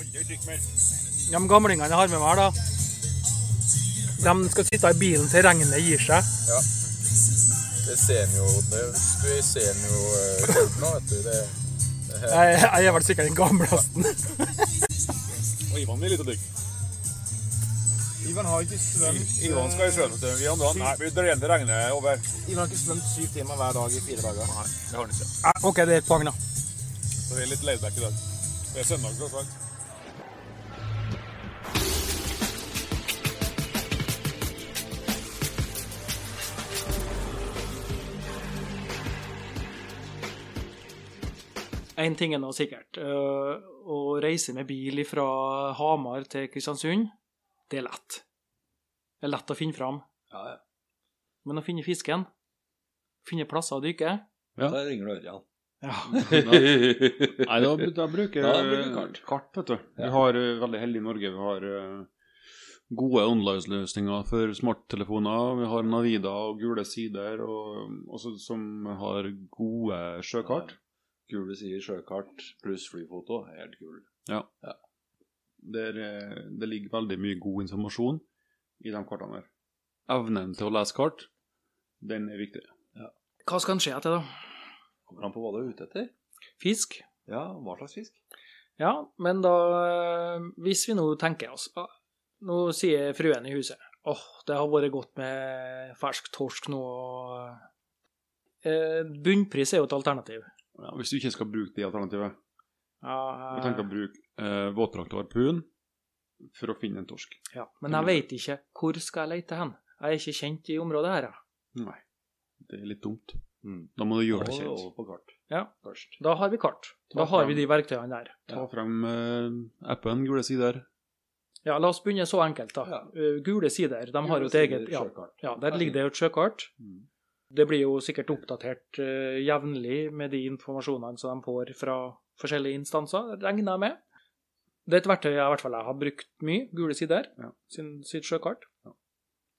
Aldri drikk mer. De gamlingene jeg har med meg her, da. De skal sitte i bilen til regnet gir seg. Ja. Det ser en jo det, Vi ser en jo eh, folk nå, vet du. Det, det her. Jeg, jeg er vel sikkert den gamleste. Og Ivan vil litt å drikke. Ivan har ikke svømt Ivan skal i sjøen. vet du. Vi andre Nei, vi drar igjen det regner over. Ivan har ikke svømt syv timer hver dag i fire dager. Nei, det har han ikke. Eh, OK, det er et poeng, da. Så vi er litt laidback i dag. Det er søndag, tross alt. Én ting er nå sikkert. øh, Å reise med bil fra Hamar til Kristiansund, det er lett. Det er lett å finne fram. Ja, ja. Men å finne fisken, finne plasser å dykke Da ringer du Ørjan. ja. Nei, da, da bruker Da jeg bruker kart. kart, vet du. Ja. Vi har eh, veldig heldig i Norge. Vi har eh, gode online-løsninger for smarttelefoner. Vi har Navida og Gule sider, og, også, som har gode sjøkart. Gule sider, sjøkart pluss flyfoto. Helt kul. Der, eh, det ligger veldig mye god informasjon i de kartene her. Evnen til å lese kart, den er viktig. Hva skal en se etter, da? Kommer an på hva du er ute etter. Fisk? Ja, hva slags fisk? Ja, men da øh, Hvis vi nå tenker oss ah, Nå sier fruen i huset åh, det har vært godt med fersk torsk nå. og, øh, Bunnpris er jo et alternativ. Ja, hvis du ikke skal bruke det alternativet. Ja, Jeg tenker å bruke eh, våtdrakt og harpun for å finne en torsk. eh, Ja, men jeg veit ikke hvor skal jeg lete hen. Jeg er ikke kjent i området her. jeg. Nei, det er litt dumt. Mm. Da må du gjøre Da det må du kjent. Over på kart. Ja. Først. Da har vi kart. Da har vi de verktøyene der. Ta frem eh, appen Gule sider. Ja, La oss begynne så enkelt, da. Ja. Eh, Gule sider, de har jo et eget ja, Sjøkart. ja, Der ligger det jo et sjøkart. Mm. Det blir jo sikkert oppdatert eh, jevnlig med de informasjonene som de får fra forskjellige instanser, regner jeg med. Det er et verktøy jeg i hvert fall jeg har brukt mye, Gule sider, Ja. Eh, sin, sitt sjøkart.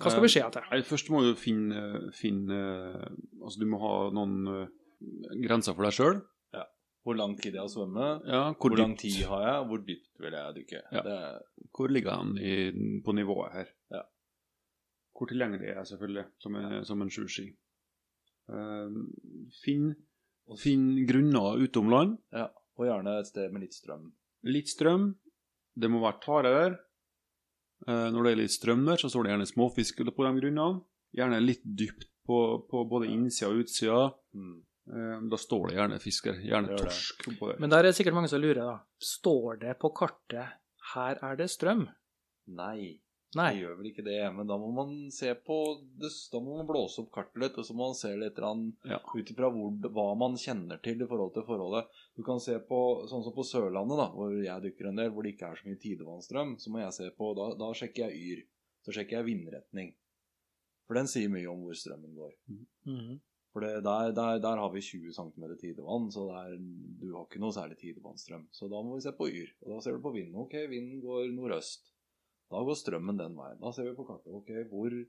Hva skal vi se etter? Nei, først må du finne, finne eh, Altså, du må ha noen eh, grenser for deg sjøl. Hvor lang tid jeg har svømmet. Ja, Hvor, hvor, lang dypt- tid har jeg, og hvor dypt vil jeg dykke? Ja. Det er Hvor ligger han i, på nivået her? Ja. Hvor tilgjengelig er jeg selvfølgelig, som en, som en sushi. Eh, finn, finn grunner utom land. Og gjerne et sted med litt strøm. Litt strøm. Det må være tare der. Eh, når det er litt strøm der, så står det gjerne småfisk på de grunnene. Gjerne litt dypt på, på både innsida og utsida. Mm. Eh, da står det gjerne fisk der. Gjerne Gjør det. torsk på der. Men der er det sikkert mange som lurer, da. Står det på kartet 'her er det strøm'? Nei, det Nei. gjør vel ikke det. Men da må man se på det, Da må man blåse opp kartet litt, og så må man se litt grann Ja. ut ifra hvor- hva man kjenner til i forhold til forholdet. Du kan se på sånn som på Sørlandet, da, hvor jeg dykker en del, hvor det ikke er så mye tidevannsstrøm. Så må jeg se på Da, da sjekker jeg yr. Så sjekker jeg vindretning. For den sier mye om hvor strømmen går. Mhm. For det, der, der, der har vi 20 cm tidevann, så der, du har ikke noe særlig tidevannsstrøm. Så da må vi se på yr. Og da ser du på vinden. Ok, vinden går nordøst. Da går strømmen den veien. Da ser vi på kartet. Ok, hvor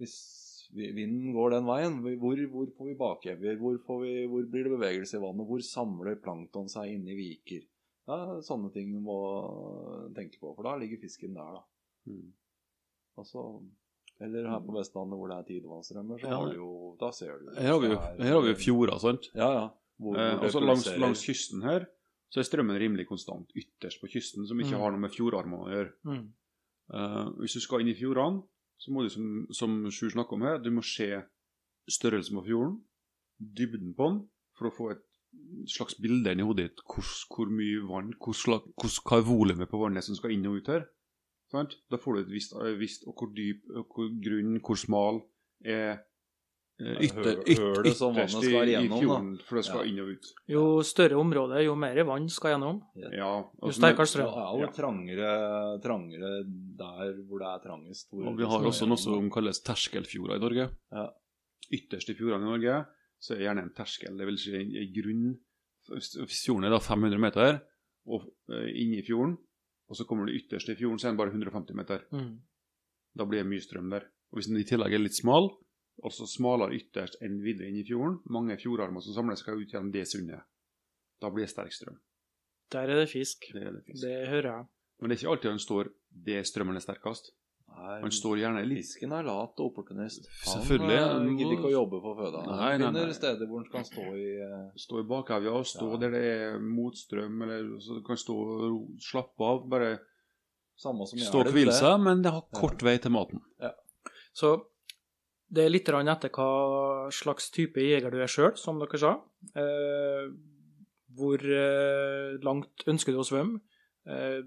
Hvis vi- vinden går den veien, hvor, hvor får vi bakevjer? Hvor, får vi, hvor blir det bevegelse i vannet? Hvor samler plankton seg inne i viker? Ja, sånne ting du må tenke på, for da ligger fisken der, da. Mm. Altså, eller her på Vestlandet hvor det er tidevannsstrømmer, så Ja, har men- du jo Da ser du Her har vi jo Det er- her har vi jo fjorder, sant. Ja, ja. Hvor, hvor Eh, det altså langs, pulserer. langs kysten her så er strømmen rimelig konstant ytterst på kysten, som ikke Mm. har noe med fjordarmene å gjøre. Mm. Eh, hvis du skal inn i fjordene, så må du, som, som Sjur snakker om her, du må se størrelsen på fjorden, dybden på den, for å få et slags bilde inn i hodet ditt. Hvor, hvor mye vann, hvor slag, hvor, hva er volumet på vannet som skal inn og ut her? Sant? Da får du et visst, eh, visst og hvor dyp, og hvor grunn, hvor smal er eh, ytter, hø- ytter, hølet som vannet ytterst i, skal i gjennom, da. fjorden, for det skal Ja. inn og ut. Jo større område, jo mer vann skal gjennom. Ja, Jo altså, sterkere Det strøm. er jo Ja. trangere, trangere der hvor det er trangest. Hvor Og vi har også noe som kalles terskelfjorder i Norge. Ja. Ytterst i fjordene i Norge så er det gjerne en terskel, det vil si en, en grunn. Hvis hvis fjorden er da 500 meter, og eh, inne i fjorden, og så kommer du ytterst i fjorden, så er den bare 150 meter. Mm. Da blir det mye strøm der. Og hvis den i tillegg er litt smal, altså smalere ytterst enn videre inn i fjorden, mange fjordarmer som samler seg ut gjennom det sundet, da blir det sterk strøm. Der er det fisk. Det er det fisk. Det hører jeg. Men det er ikke alltid han står det strømmen er sterkest. Nei, Han står gjerne litt Fisken er lat og opportunist. Han, Selvfølgelig, eh, han må- gidder ikke å jobbe for føda. Han Nei, nei, nei. finner steder hvor han kan stå i eh, Stå i bakevja og stå Ja. der det er motstrøm, eller så du kan stå og ro- slappe av. Bare Samme som stå og Gjerdet, det. hvile seg, men det har kort vei til maten. Så det er litt grann etter hva slags type jeger du er sjøl, som dere sa. Eh, hvor eh, langt ønsker du å svømme? Eh,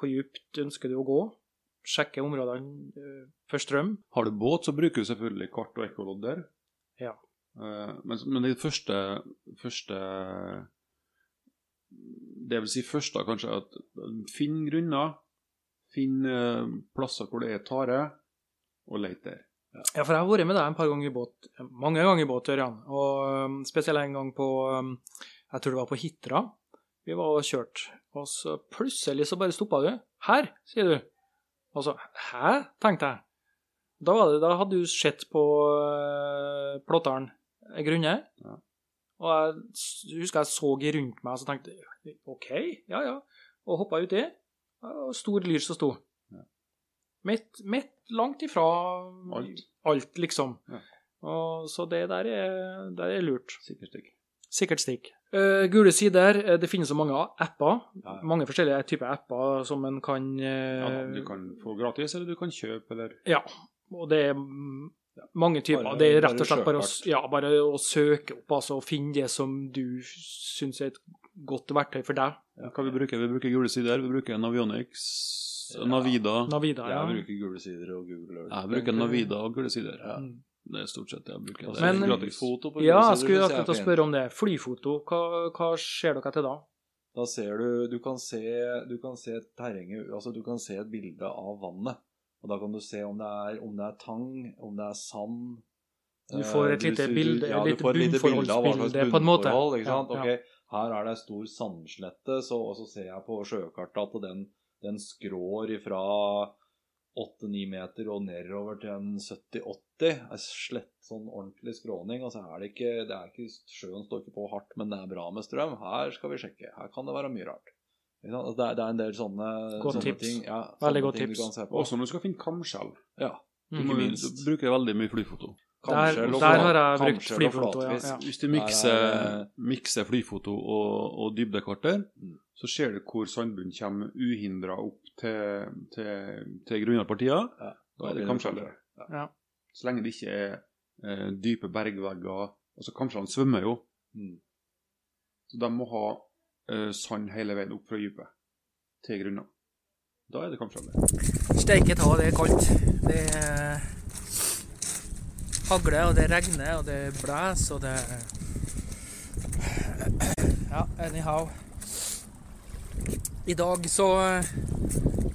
hvor dypt ønsker du å gå? Sjekke områdene eh, for strøm. Har du båt, så bruker du selvfølgelig kart og ekkolodder. Ja. Eh, men, men det første, første Det vil si første, kanskje, at finn grunner. Finn eh, plasser hvor det er tare, og let der. Ja, for jeg har vært med deg en par ganger i båt, mange ganger i båt, Ørjan. Og øhm, spesielt en gang på, øhm, jeg tror det var på Hitra, vi var og kjørt. Og så plutselig så bare stoppa du. Her, sier du. Og så, hæ, tenkte jeg. Da, var det, da hadde du sett på øh, plotteren en grunne. Ja. Og jeg s- husker jeg så i rundt meg og så tenkte jeg, OK, ja ja. Og hoppa uti. Og stor lyr som sto. Ja. Midt, midt langt ifra Alt. alt, liksom. Ja. Og, så det der er, der er lurt. Sikkert ikke. Sikkert stikk. Eh, gule sider, eh, det finnes så mange apper. Ja, ja. Mange forskjellige typer apper som en kan, Ja, da, eh, du kan få gratis, eller du kan kjøpe, eller ja, og det er mm, mange typer. Bare- det er bare rett og slett bare å, søkart. ja, bare å søke opp, altså å finne det som du syns er et godt verktøy for deg. Hva vi bruker vi? bruker gule sider, vi bruker Navionics, Navida. Navida, ja. Jeg bruker gule sider og Google Earth. Jeg bruker Navida og gule sider. eh, Ja. Mm. Det er stort sett det jeg bruker. Og Det så er Men- litt gratis. Foto på Ja, jeg gule sider, skulle det synes jeg akkurat å er fint. spørre om det. Flyfoto, hva, hva ser dere til da? Da ser du Du kan se, du kan se terrenget Altså, du kan se et bilde av vannet. Og da kan du se om det er, om det er tang, om det er sand. Du får et Eh, lite du- bilde- ja, et du lite får et lite bilde av hva slags bunnforholdsbilde, på en måte. bunnforhold, Ikke Ja, sant? ja. Ok, her er det en stor sandslette, så, og så ser jeg på sjøkartet at den, den skrår ifra 8-9 meter og nedover til en 70-80. Er slett sånn ordentlig skråning. Altså er det ikke, det er ikke Sjøen står ikke på hardt, men det er bra med strøm. Her skal vi sjekke. Her kan det være mye rart. Ikke sant? Altså, Det er, det er en del sånne, Godt sånne tips. ting. Ja, Veldig sånne godt ting tips. Du kan se på. Også sånn når du skal finne kamskjell. Ja. Mm. Du Mm. må- minst. Du bruker veldig mye flyfoto. Der, Kamskjell og der flat- har jeg brukt kamskjell og flyfoto, ja. flatfisk. ja. Hvis du Der er mikser, det- mikser flyfoto og, og dybdekarter, Mm. så ser du hvor sandbunnen kommer uhindra opp til, til, til grunnarpartier. Ja, Da er det begynner kamskjell. det. Ja. Så lenge det ikke er eh, dype bergvegger. Altså Kamskjellene svømmer jo, Mm. så de må ha eh, sand hele veien opp fra dypet til grunna. Da er det kamskjeller. Steike ta, det er kaldt. Det er hagle, og det regner, og det blåser, og det Ja, anyhow. I dag så eh,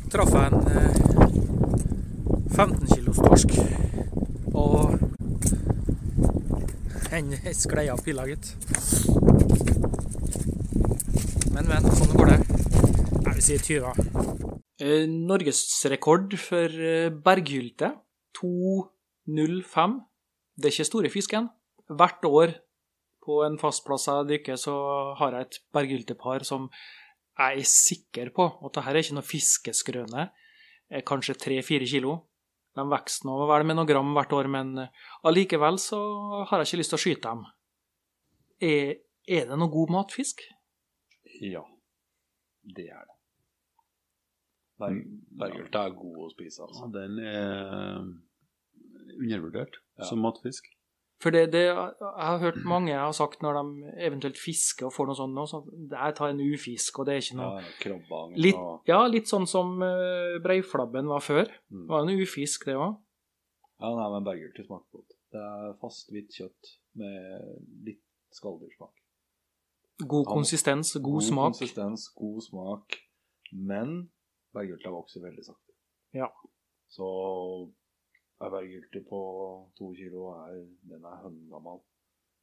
traff jeg en eh, 15 kilos torsk. Og den sklei av pilla, gitt. Men, men, sånn går det. Jeg vil si 20. Eh, Norgesrekord for eh, berghylte. 2,05. Det er ikke store fisken. Hvert år på en fast plass jeg dykker, så har jeg et berghyltepar som jeg er sikker på at det her er ikke noe fiskeskrøne. Eh, Kanskje 3-4 kilo. De vokser nå vel med noen gram hvert år, men eh, allikevel så har jeg ikke lyst til å skyte dem. Er, er det noe god matfisk? Ja, det er det. Berg, Mm. Berghylte er god å spise, altså. den er eh, undervurdert Ja. som matfisk. For det, det, jeg har hørt mange har sagt når de eventuelt fisker og får noe sånt nå, så jeg tar en ufisk, og det er ikke Ja, noe Krabbang Litt, og ja, litt sånn som eh, breiflabben var før. Mm. Det var en ufisk, det òg. Ja, nei, men berghylte smaker godt. Det er fast, hvitt kjøtt med litt skalldyrsmak. God Ja. konsistens, god, smak. konsistens, god smak. Men berghylta vokser veldig sakte. Ja. Så ei berghylte på to kilo er Den er høngammal.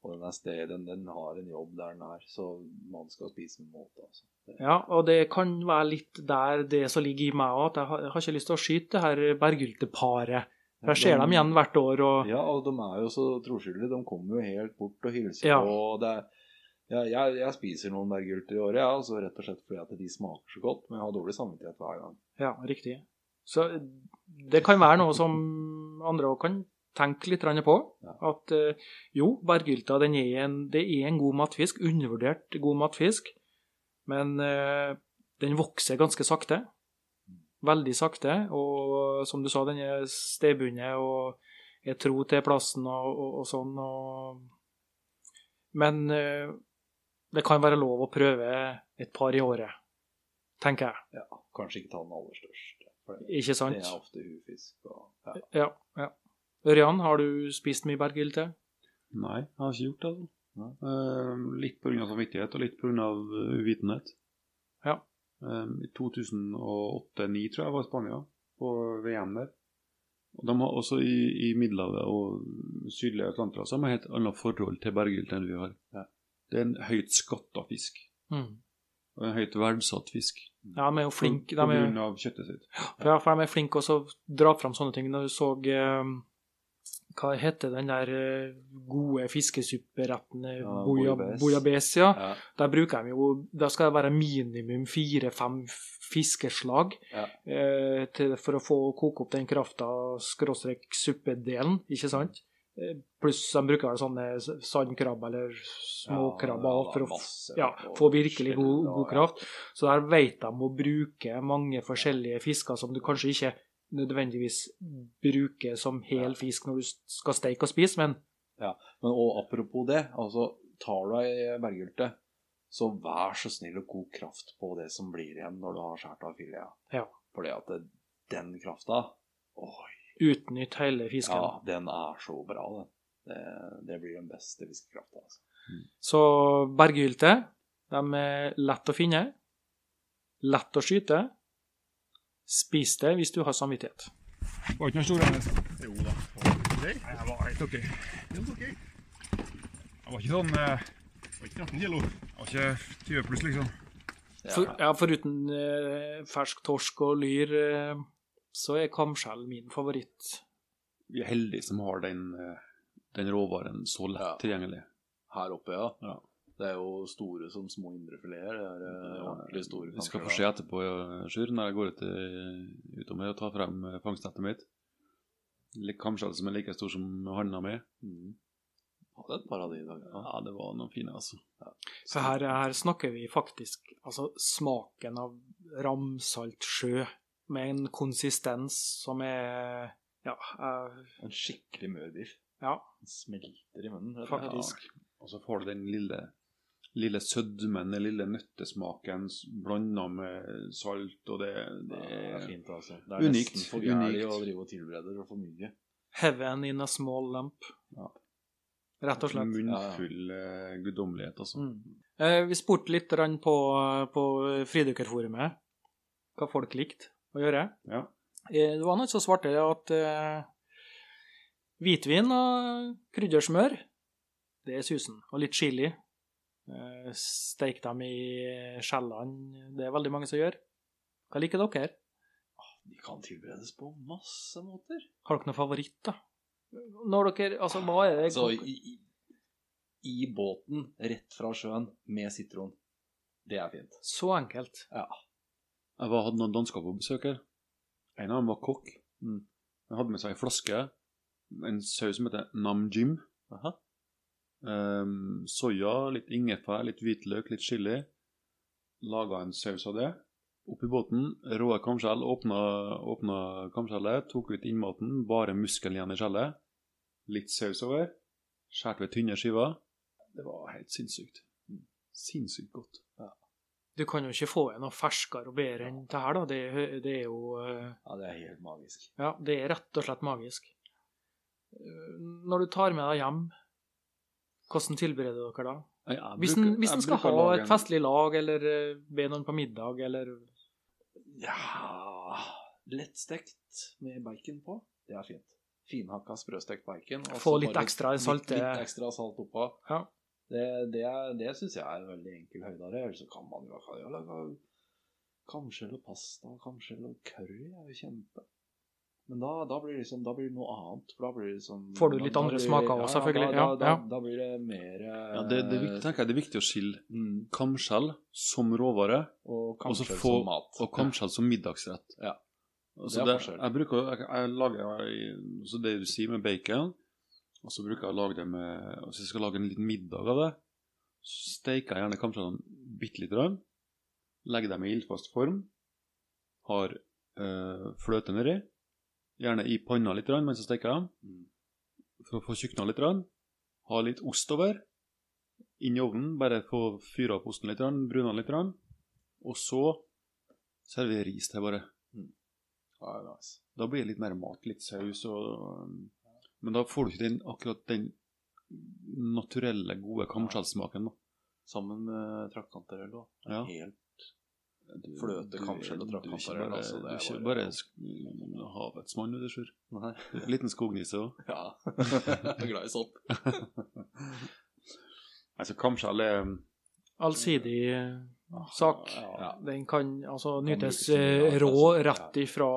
Og den, er sted, den, den har en jobb der den er, så man skal spise med måte, altså. Det- Ja, og det kan være litt der det som ligger i meg òg, at jeg har, jeg har ikke lyst til å skyte det her berghylteparet. For jeg ser Den- dem igjen hvert år, og Ja, og de er jo så troskyldige. De kommer jo helt bort og hilser Ja. på. og Det er, Jeg, jeg, jeg spiser noen bergurter i året, ja, altså rett og slett fordi at de smaker så godt. Men jeg har dårlig samvittighet hver gang. Ja, riktig. Så det kan være noe som andre òg kan tenke litt grann på. Ja. At eh, jo, bergylta den er en, det er en god matfisk, undervurdert god matfisk. Men eh, den vokser ganske sakte. Veldig sakte. Og som du sa, den er stedbundet og er tro til plassen og, og, og sånn. Og... Men eh, det kan være lov å prøve et par i året, tenker jeg. Ja, kanskje ikke ta den aller største. For det, Ikke det sant? er ofte hufisk. Og, ja. Ja. ja. Ørjan, har du spist mye berggylte? Nei, jeg har ikke gjort det. altså. Eh, litt pga. samvittighet og litt pga. eh, uvitenhet. Ja. Eh, I 2008-2009 tror jeg var i Spania, på VM der. Og de har også i, i Middelhavet og sydlige Atlanterhavet så har man et helt annet forhold til berggylte enn vi har. Det er en høyt skatta fisk. Mm. Og en høyt verdsatt fisk. Ja, de er jo flinke. På De er, grunn av kjøttet sitt. ja, for de er flinke også å dra fram sånne ting. Når du så eh, Hva heter den der eh, gode fiskesupperetten? eh, Ja, boya- bouillabaisse. Bouillabaisse, ja. Ja. Der bruker de jo Der skal det være minimum fire-fem fiskeslag Ja. eh, til, for å få koke opp den krafta, skråstrek suppedelen, ikke sant? Eh, Pluss de bruker vel sånne s- sandkrabber eller småkrabber Ja, for å masse ja, og få virkelig god, skjell og- god kraft. Så der vet de å bruke mange forskjellige fisker som du kanskje ikke nødvendigvis bruker som hel fisk når du s- skal steike og spise, men Men og apropos det, altså tar du ei berggylte, så vær så snill å koke kraft på det som blir igjen når du har skåret av fileten. Ja. Fordi at det, den krafta Oi, utnytt hele fisken. ja, den er så bra, den. Det, det blir den beste fiskekrafta. Altså. Så berghylte, de er lett å finne, lett å skyte. Spis det hvis du har samvittighet. Var ikke noe stor enhet? Jo da. Nei, jeg var helt ok. Helt ok. Jeg var ikke sånn eh, Jeg var ikke 18 kilo. Jeg var ikke 20 pluss, liksom. For, ja, foruten eh, fersk torsk og lyr, eh, så er kamskjell min favoritt. Vi er heldige som har den, eh, den råvaren så lett Ja. tilgjengelig. Her oppe, ja. Ja. Det er jo store som små indrefileter. Det er eh, ordentlig store. Vi skal få kanskje, se da. etterpå, ja, Sjur, når jeg går ut eh, utom her og tar frem eh, fangstnettet mitt. Litt Kamskjell som er like stor som handa mi. Mm. Hadde et par av de i dag. Ja. Ja, det var noen fine, altså. Så her, her snakker vi faktisk altså smaken av ramsalt sjø med en konsistens som er ja, eh, En skikkelig mør biff. ja, Den Smelter i munnen. rett og slett. faktisk. Og så får du den lille, lille sødmen, den lille nøttesmaken blanda med salt, og det, det Det er fint, altså. Det er Unikt, nesten for gærlig unikt. å drive og tilberede det for mye. Heaven in a small lamp. Ja. Rett og slett. munnfull eh, guddommelighet, altså. Mm. Eh, vi spurte litt grann på, på Fridykkerforumet hva folk likte å gjøre. Ja. Eh, det var noen som svarte at eh, hvitvin og kryddersmør, det er susen. Og litt chili. Eh, Steik dem i skjellene. Det er veldig mange som gjør. Hva liker dere? De kan tilberedes på masse måter. Har dere noen favoritt, da? Når dere Altså, hva er det Altså, i, i, i båten, rett fra sjøen, med sitron. Det er fint. Så enkelt. Jeg var, hadde noen dansker på besøk her. En av dem var kokk. Mm. Han hadde med seg en flaske, en saus som heter Namjim. Aha. Ehm, soya, litt ingefær, litt hvitløk, litt chili. Laga en saus av det. Oppi båten, råe kamskjell, åpna, åpna kamskjellet, tok ut innmaten, bare muskelen igjen i skjellet. Litt saus over. Skåret ved tynne skiver. Det var helt sinnssykt. Mm. Sinnssykt godt. Du kan jo ikke få en noe ferskere og bedre enn det her, da. Det, er- det er jo eh, Ja, det er helt magisk. Ja, det er rett og slett magisk. Eh, Når du tar med deg hjem, hvordan tilbereder dere da? Jeg- jeg Hvis en, bruker- hvis jeg en skal bruker ha å lage et en- festlig lag, eller eh, be noen på middag, eller Ja Lettstekt med bacon på. Det er fint. Finhakka sprøstekt bacon. og Få så litt Altså bare ekstra eh. salte- Litt, litt ekstra salt oppå. Ja. Det, det, er- det syns jeg er en veldig enkel høydare. Eller så kan man jo kan jo lage kamskjell og pasta, kamskjell og curry. er jo kjempe. Men da, da, blir det liksom, da blir det noe annet. For da blir det liksom, Får du litt da- da andre blir det- smaker også, selvfølgelig. Da, Ja, da, ja. Da, da blir det mer eh, Ja, det, det, er viktig, tenker jeg, det er viktig å skille mm, kamskjell som råvare og så kanskje få- som mat. og kamskjell som middagsrett. Ja. Altså, Det er det, forskjell. jeg bruker jo- jeg, jeg lager jeg- altså det du sier med bacon, og så bruker jeg å lage det med Hvis jeg skal lage en liten middag av det, så steiker jeg gjerne kamskjellene bitte lite grann. Legger dem i ildfast form. Har øh, fløte nedi. Gjerne i panna litt grann mens jeg steker dem. Mm. For å få tjukna litt. Grann. Ha litt ost over. Inn i ovnen, bare få fyra opp osten litt, grann, bruna litt. Grann. Og så serverer ris til, bare. Ja, nice. Da blir det litt mer mat, litt saus og Men da får du ikke den, akkurat den naturelle, gode kamskjellsmaken, da. Sammen med traktantarell òg. Ja. Helt Du- Fløte, du er- kamskjell og du er ikke traktantarell, bare- altså, det Du er er ikke bare- bare sk- havets mann, du, Sjur. Nei. Liten skognisse òg. Ja. Jeg er glad i sopp. Altså, kamskjell er Allsidig eh, sak. Ja. Den kan altså Kan nytes brukes til mye, eh, ja, rå altså, ja. rett ifra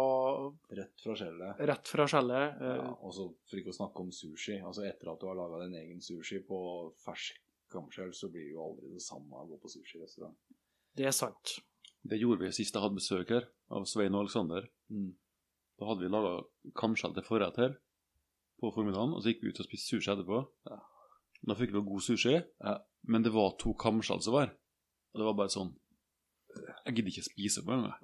Rett fra skjellet. Rett fra skjellet. eh, Ja, og så for ikke å snakke om sushi. Altså Etter at du har laga din egen sushi på fersk kamskjell, så blir det jo aldri det samme å gå på sushirestaurant. Det er sant. Det gjorde vi sist jeg hadde besøk her, av Svein og Aleksander. Mm. Da hadde vi laga kamskjell til forrett her på formiddagen, og så gikk vi ut og spiste sushi etterpå. Da fikk vi god sushi, Ja. men det var to kamskjell som var. Og det var bare sånn Jeg gidder ikke spise på engang.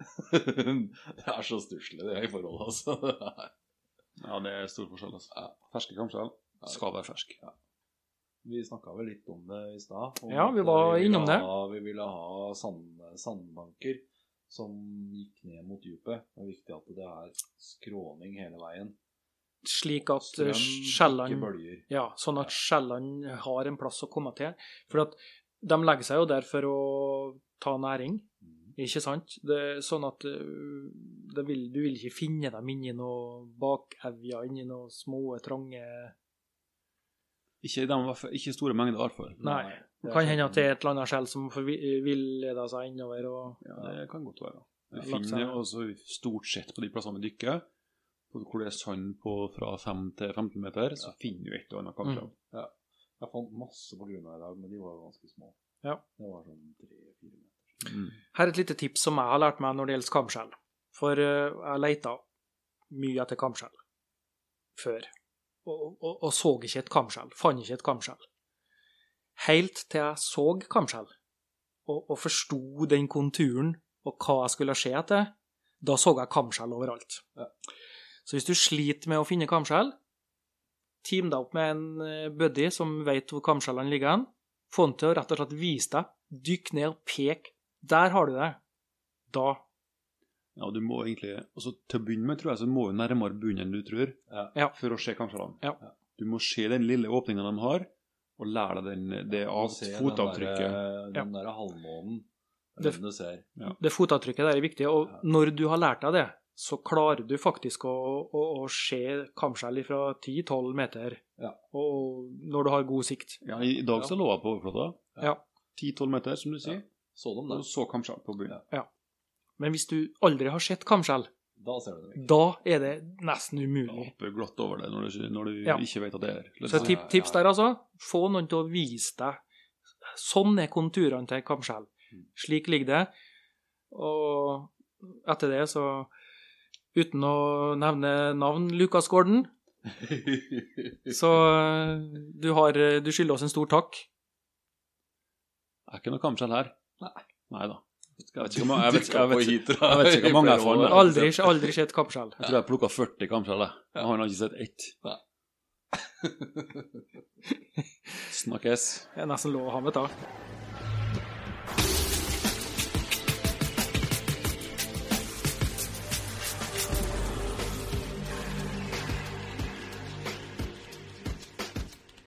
det er så stusslig, det i forholdet, altså. Ja, det er stor forskjell, altså. Ja. Ferske kamskjell Ja. skal være fersk. Vi snakka vel litt om det i stad. om Ja, at vi var ville innom det. Ha, vi ville ha sand, sandbanker som gikk ned mot dypet. Det er viktig at det er skråning hele veien. Slik at eh, Strøm, ikke skjellene bølger. Ja, sånn at skjellene har en plass å komme til. For at de legger seg jo der for å ta næring, ikke sant? Det er sånn at øh, det vil, du vil ikke finne dem inni noe bakevja, inni noe små, trange Ikke, i dem, i hvert fall- ikke i store mengder, i hvert fall. Nei. Det kan hende at det er et eller annet skjell som forvi- villeder seg innover og Ja, det kan godt være. Vi Ja, laks finner er- jo også stort sett på de plassene vi dykker, på hvor det er sand på fra 5 til 15 meter, så finner vi et eller annet kamskjell. Jeg fant masse på grunna i dag, men de var jo ganske små. Ja. Det var sånn tre-fire meter. Mm. Her er et lite tips som jeg har lært meg når det gjelder kamskjell. For eh, jeg leita mye etter kamskjell før, og, og, og så ikke et kamskjell. Fant ikke et kamskjell. Helt til jeg så kamskjell, og, og forsto den konturen og hva jeg skulle se etter, da så jeg kamskjell overalt. Så hvis du sliter med å finne kamskjell, team deg opp med en eh, buddy som vet hvor kamskjellene ligger hen. Få han til å rett og slett vise deg. Dykk ned og pek der har du det. Da. Ja, du må egentlig, altså Til å begynne med tror jeg så må du nærmere bunnen enn du tror, Ja. for å se kamskjellene. Ja. Du må se den lille åpningen de har, og lære deg den, det Du av ser den fotavtrykket. der- eh, Den der halvmånen. Det Det- er den du ser. Det fotavtrykket der er viktig, og Ja. når du har lært deg det, så klarer du faktisk å, å, å se kamskjell fra 10-12 meter, Ja. og når du har god sikt. Ja, I i dag så lå jeg på overflata. Ja. 10-12 meter, som du sier. Så dem Og der. så kamskjell på bunnen. Men hvis du aldri har sett kamskjell, Da ser du det. da er det nesten Da umulig. hopper du glatt over det når du, ikke- når du Ja. ikke vet at det er Så her. tip, tips der, altså. Få noen til å vise deg. Sånn er konturene til kamskjell. Slik ligger det. Og etter det, så Uten å nevne navn, Lukas Gordon, Så eh, du, har, eh, du skylder oss en stor takk. Er ikke noe kamskjell her? Nei. da. Jeg vet ikke hvor mange jeg, vet, jeg, Dukka på vet, hitra jeg vet ikke hvor mange jeg i får flere med. år. Aldri, aldri sett kappskjell. Jeg tror jeg plukka 40 kamskjell, jeg. Men Han har ikke sett ett. Nei. Snakkes. Det er nesten lov å ha med, da.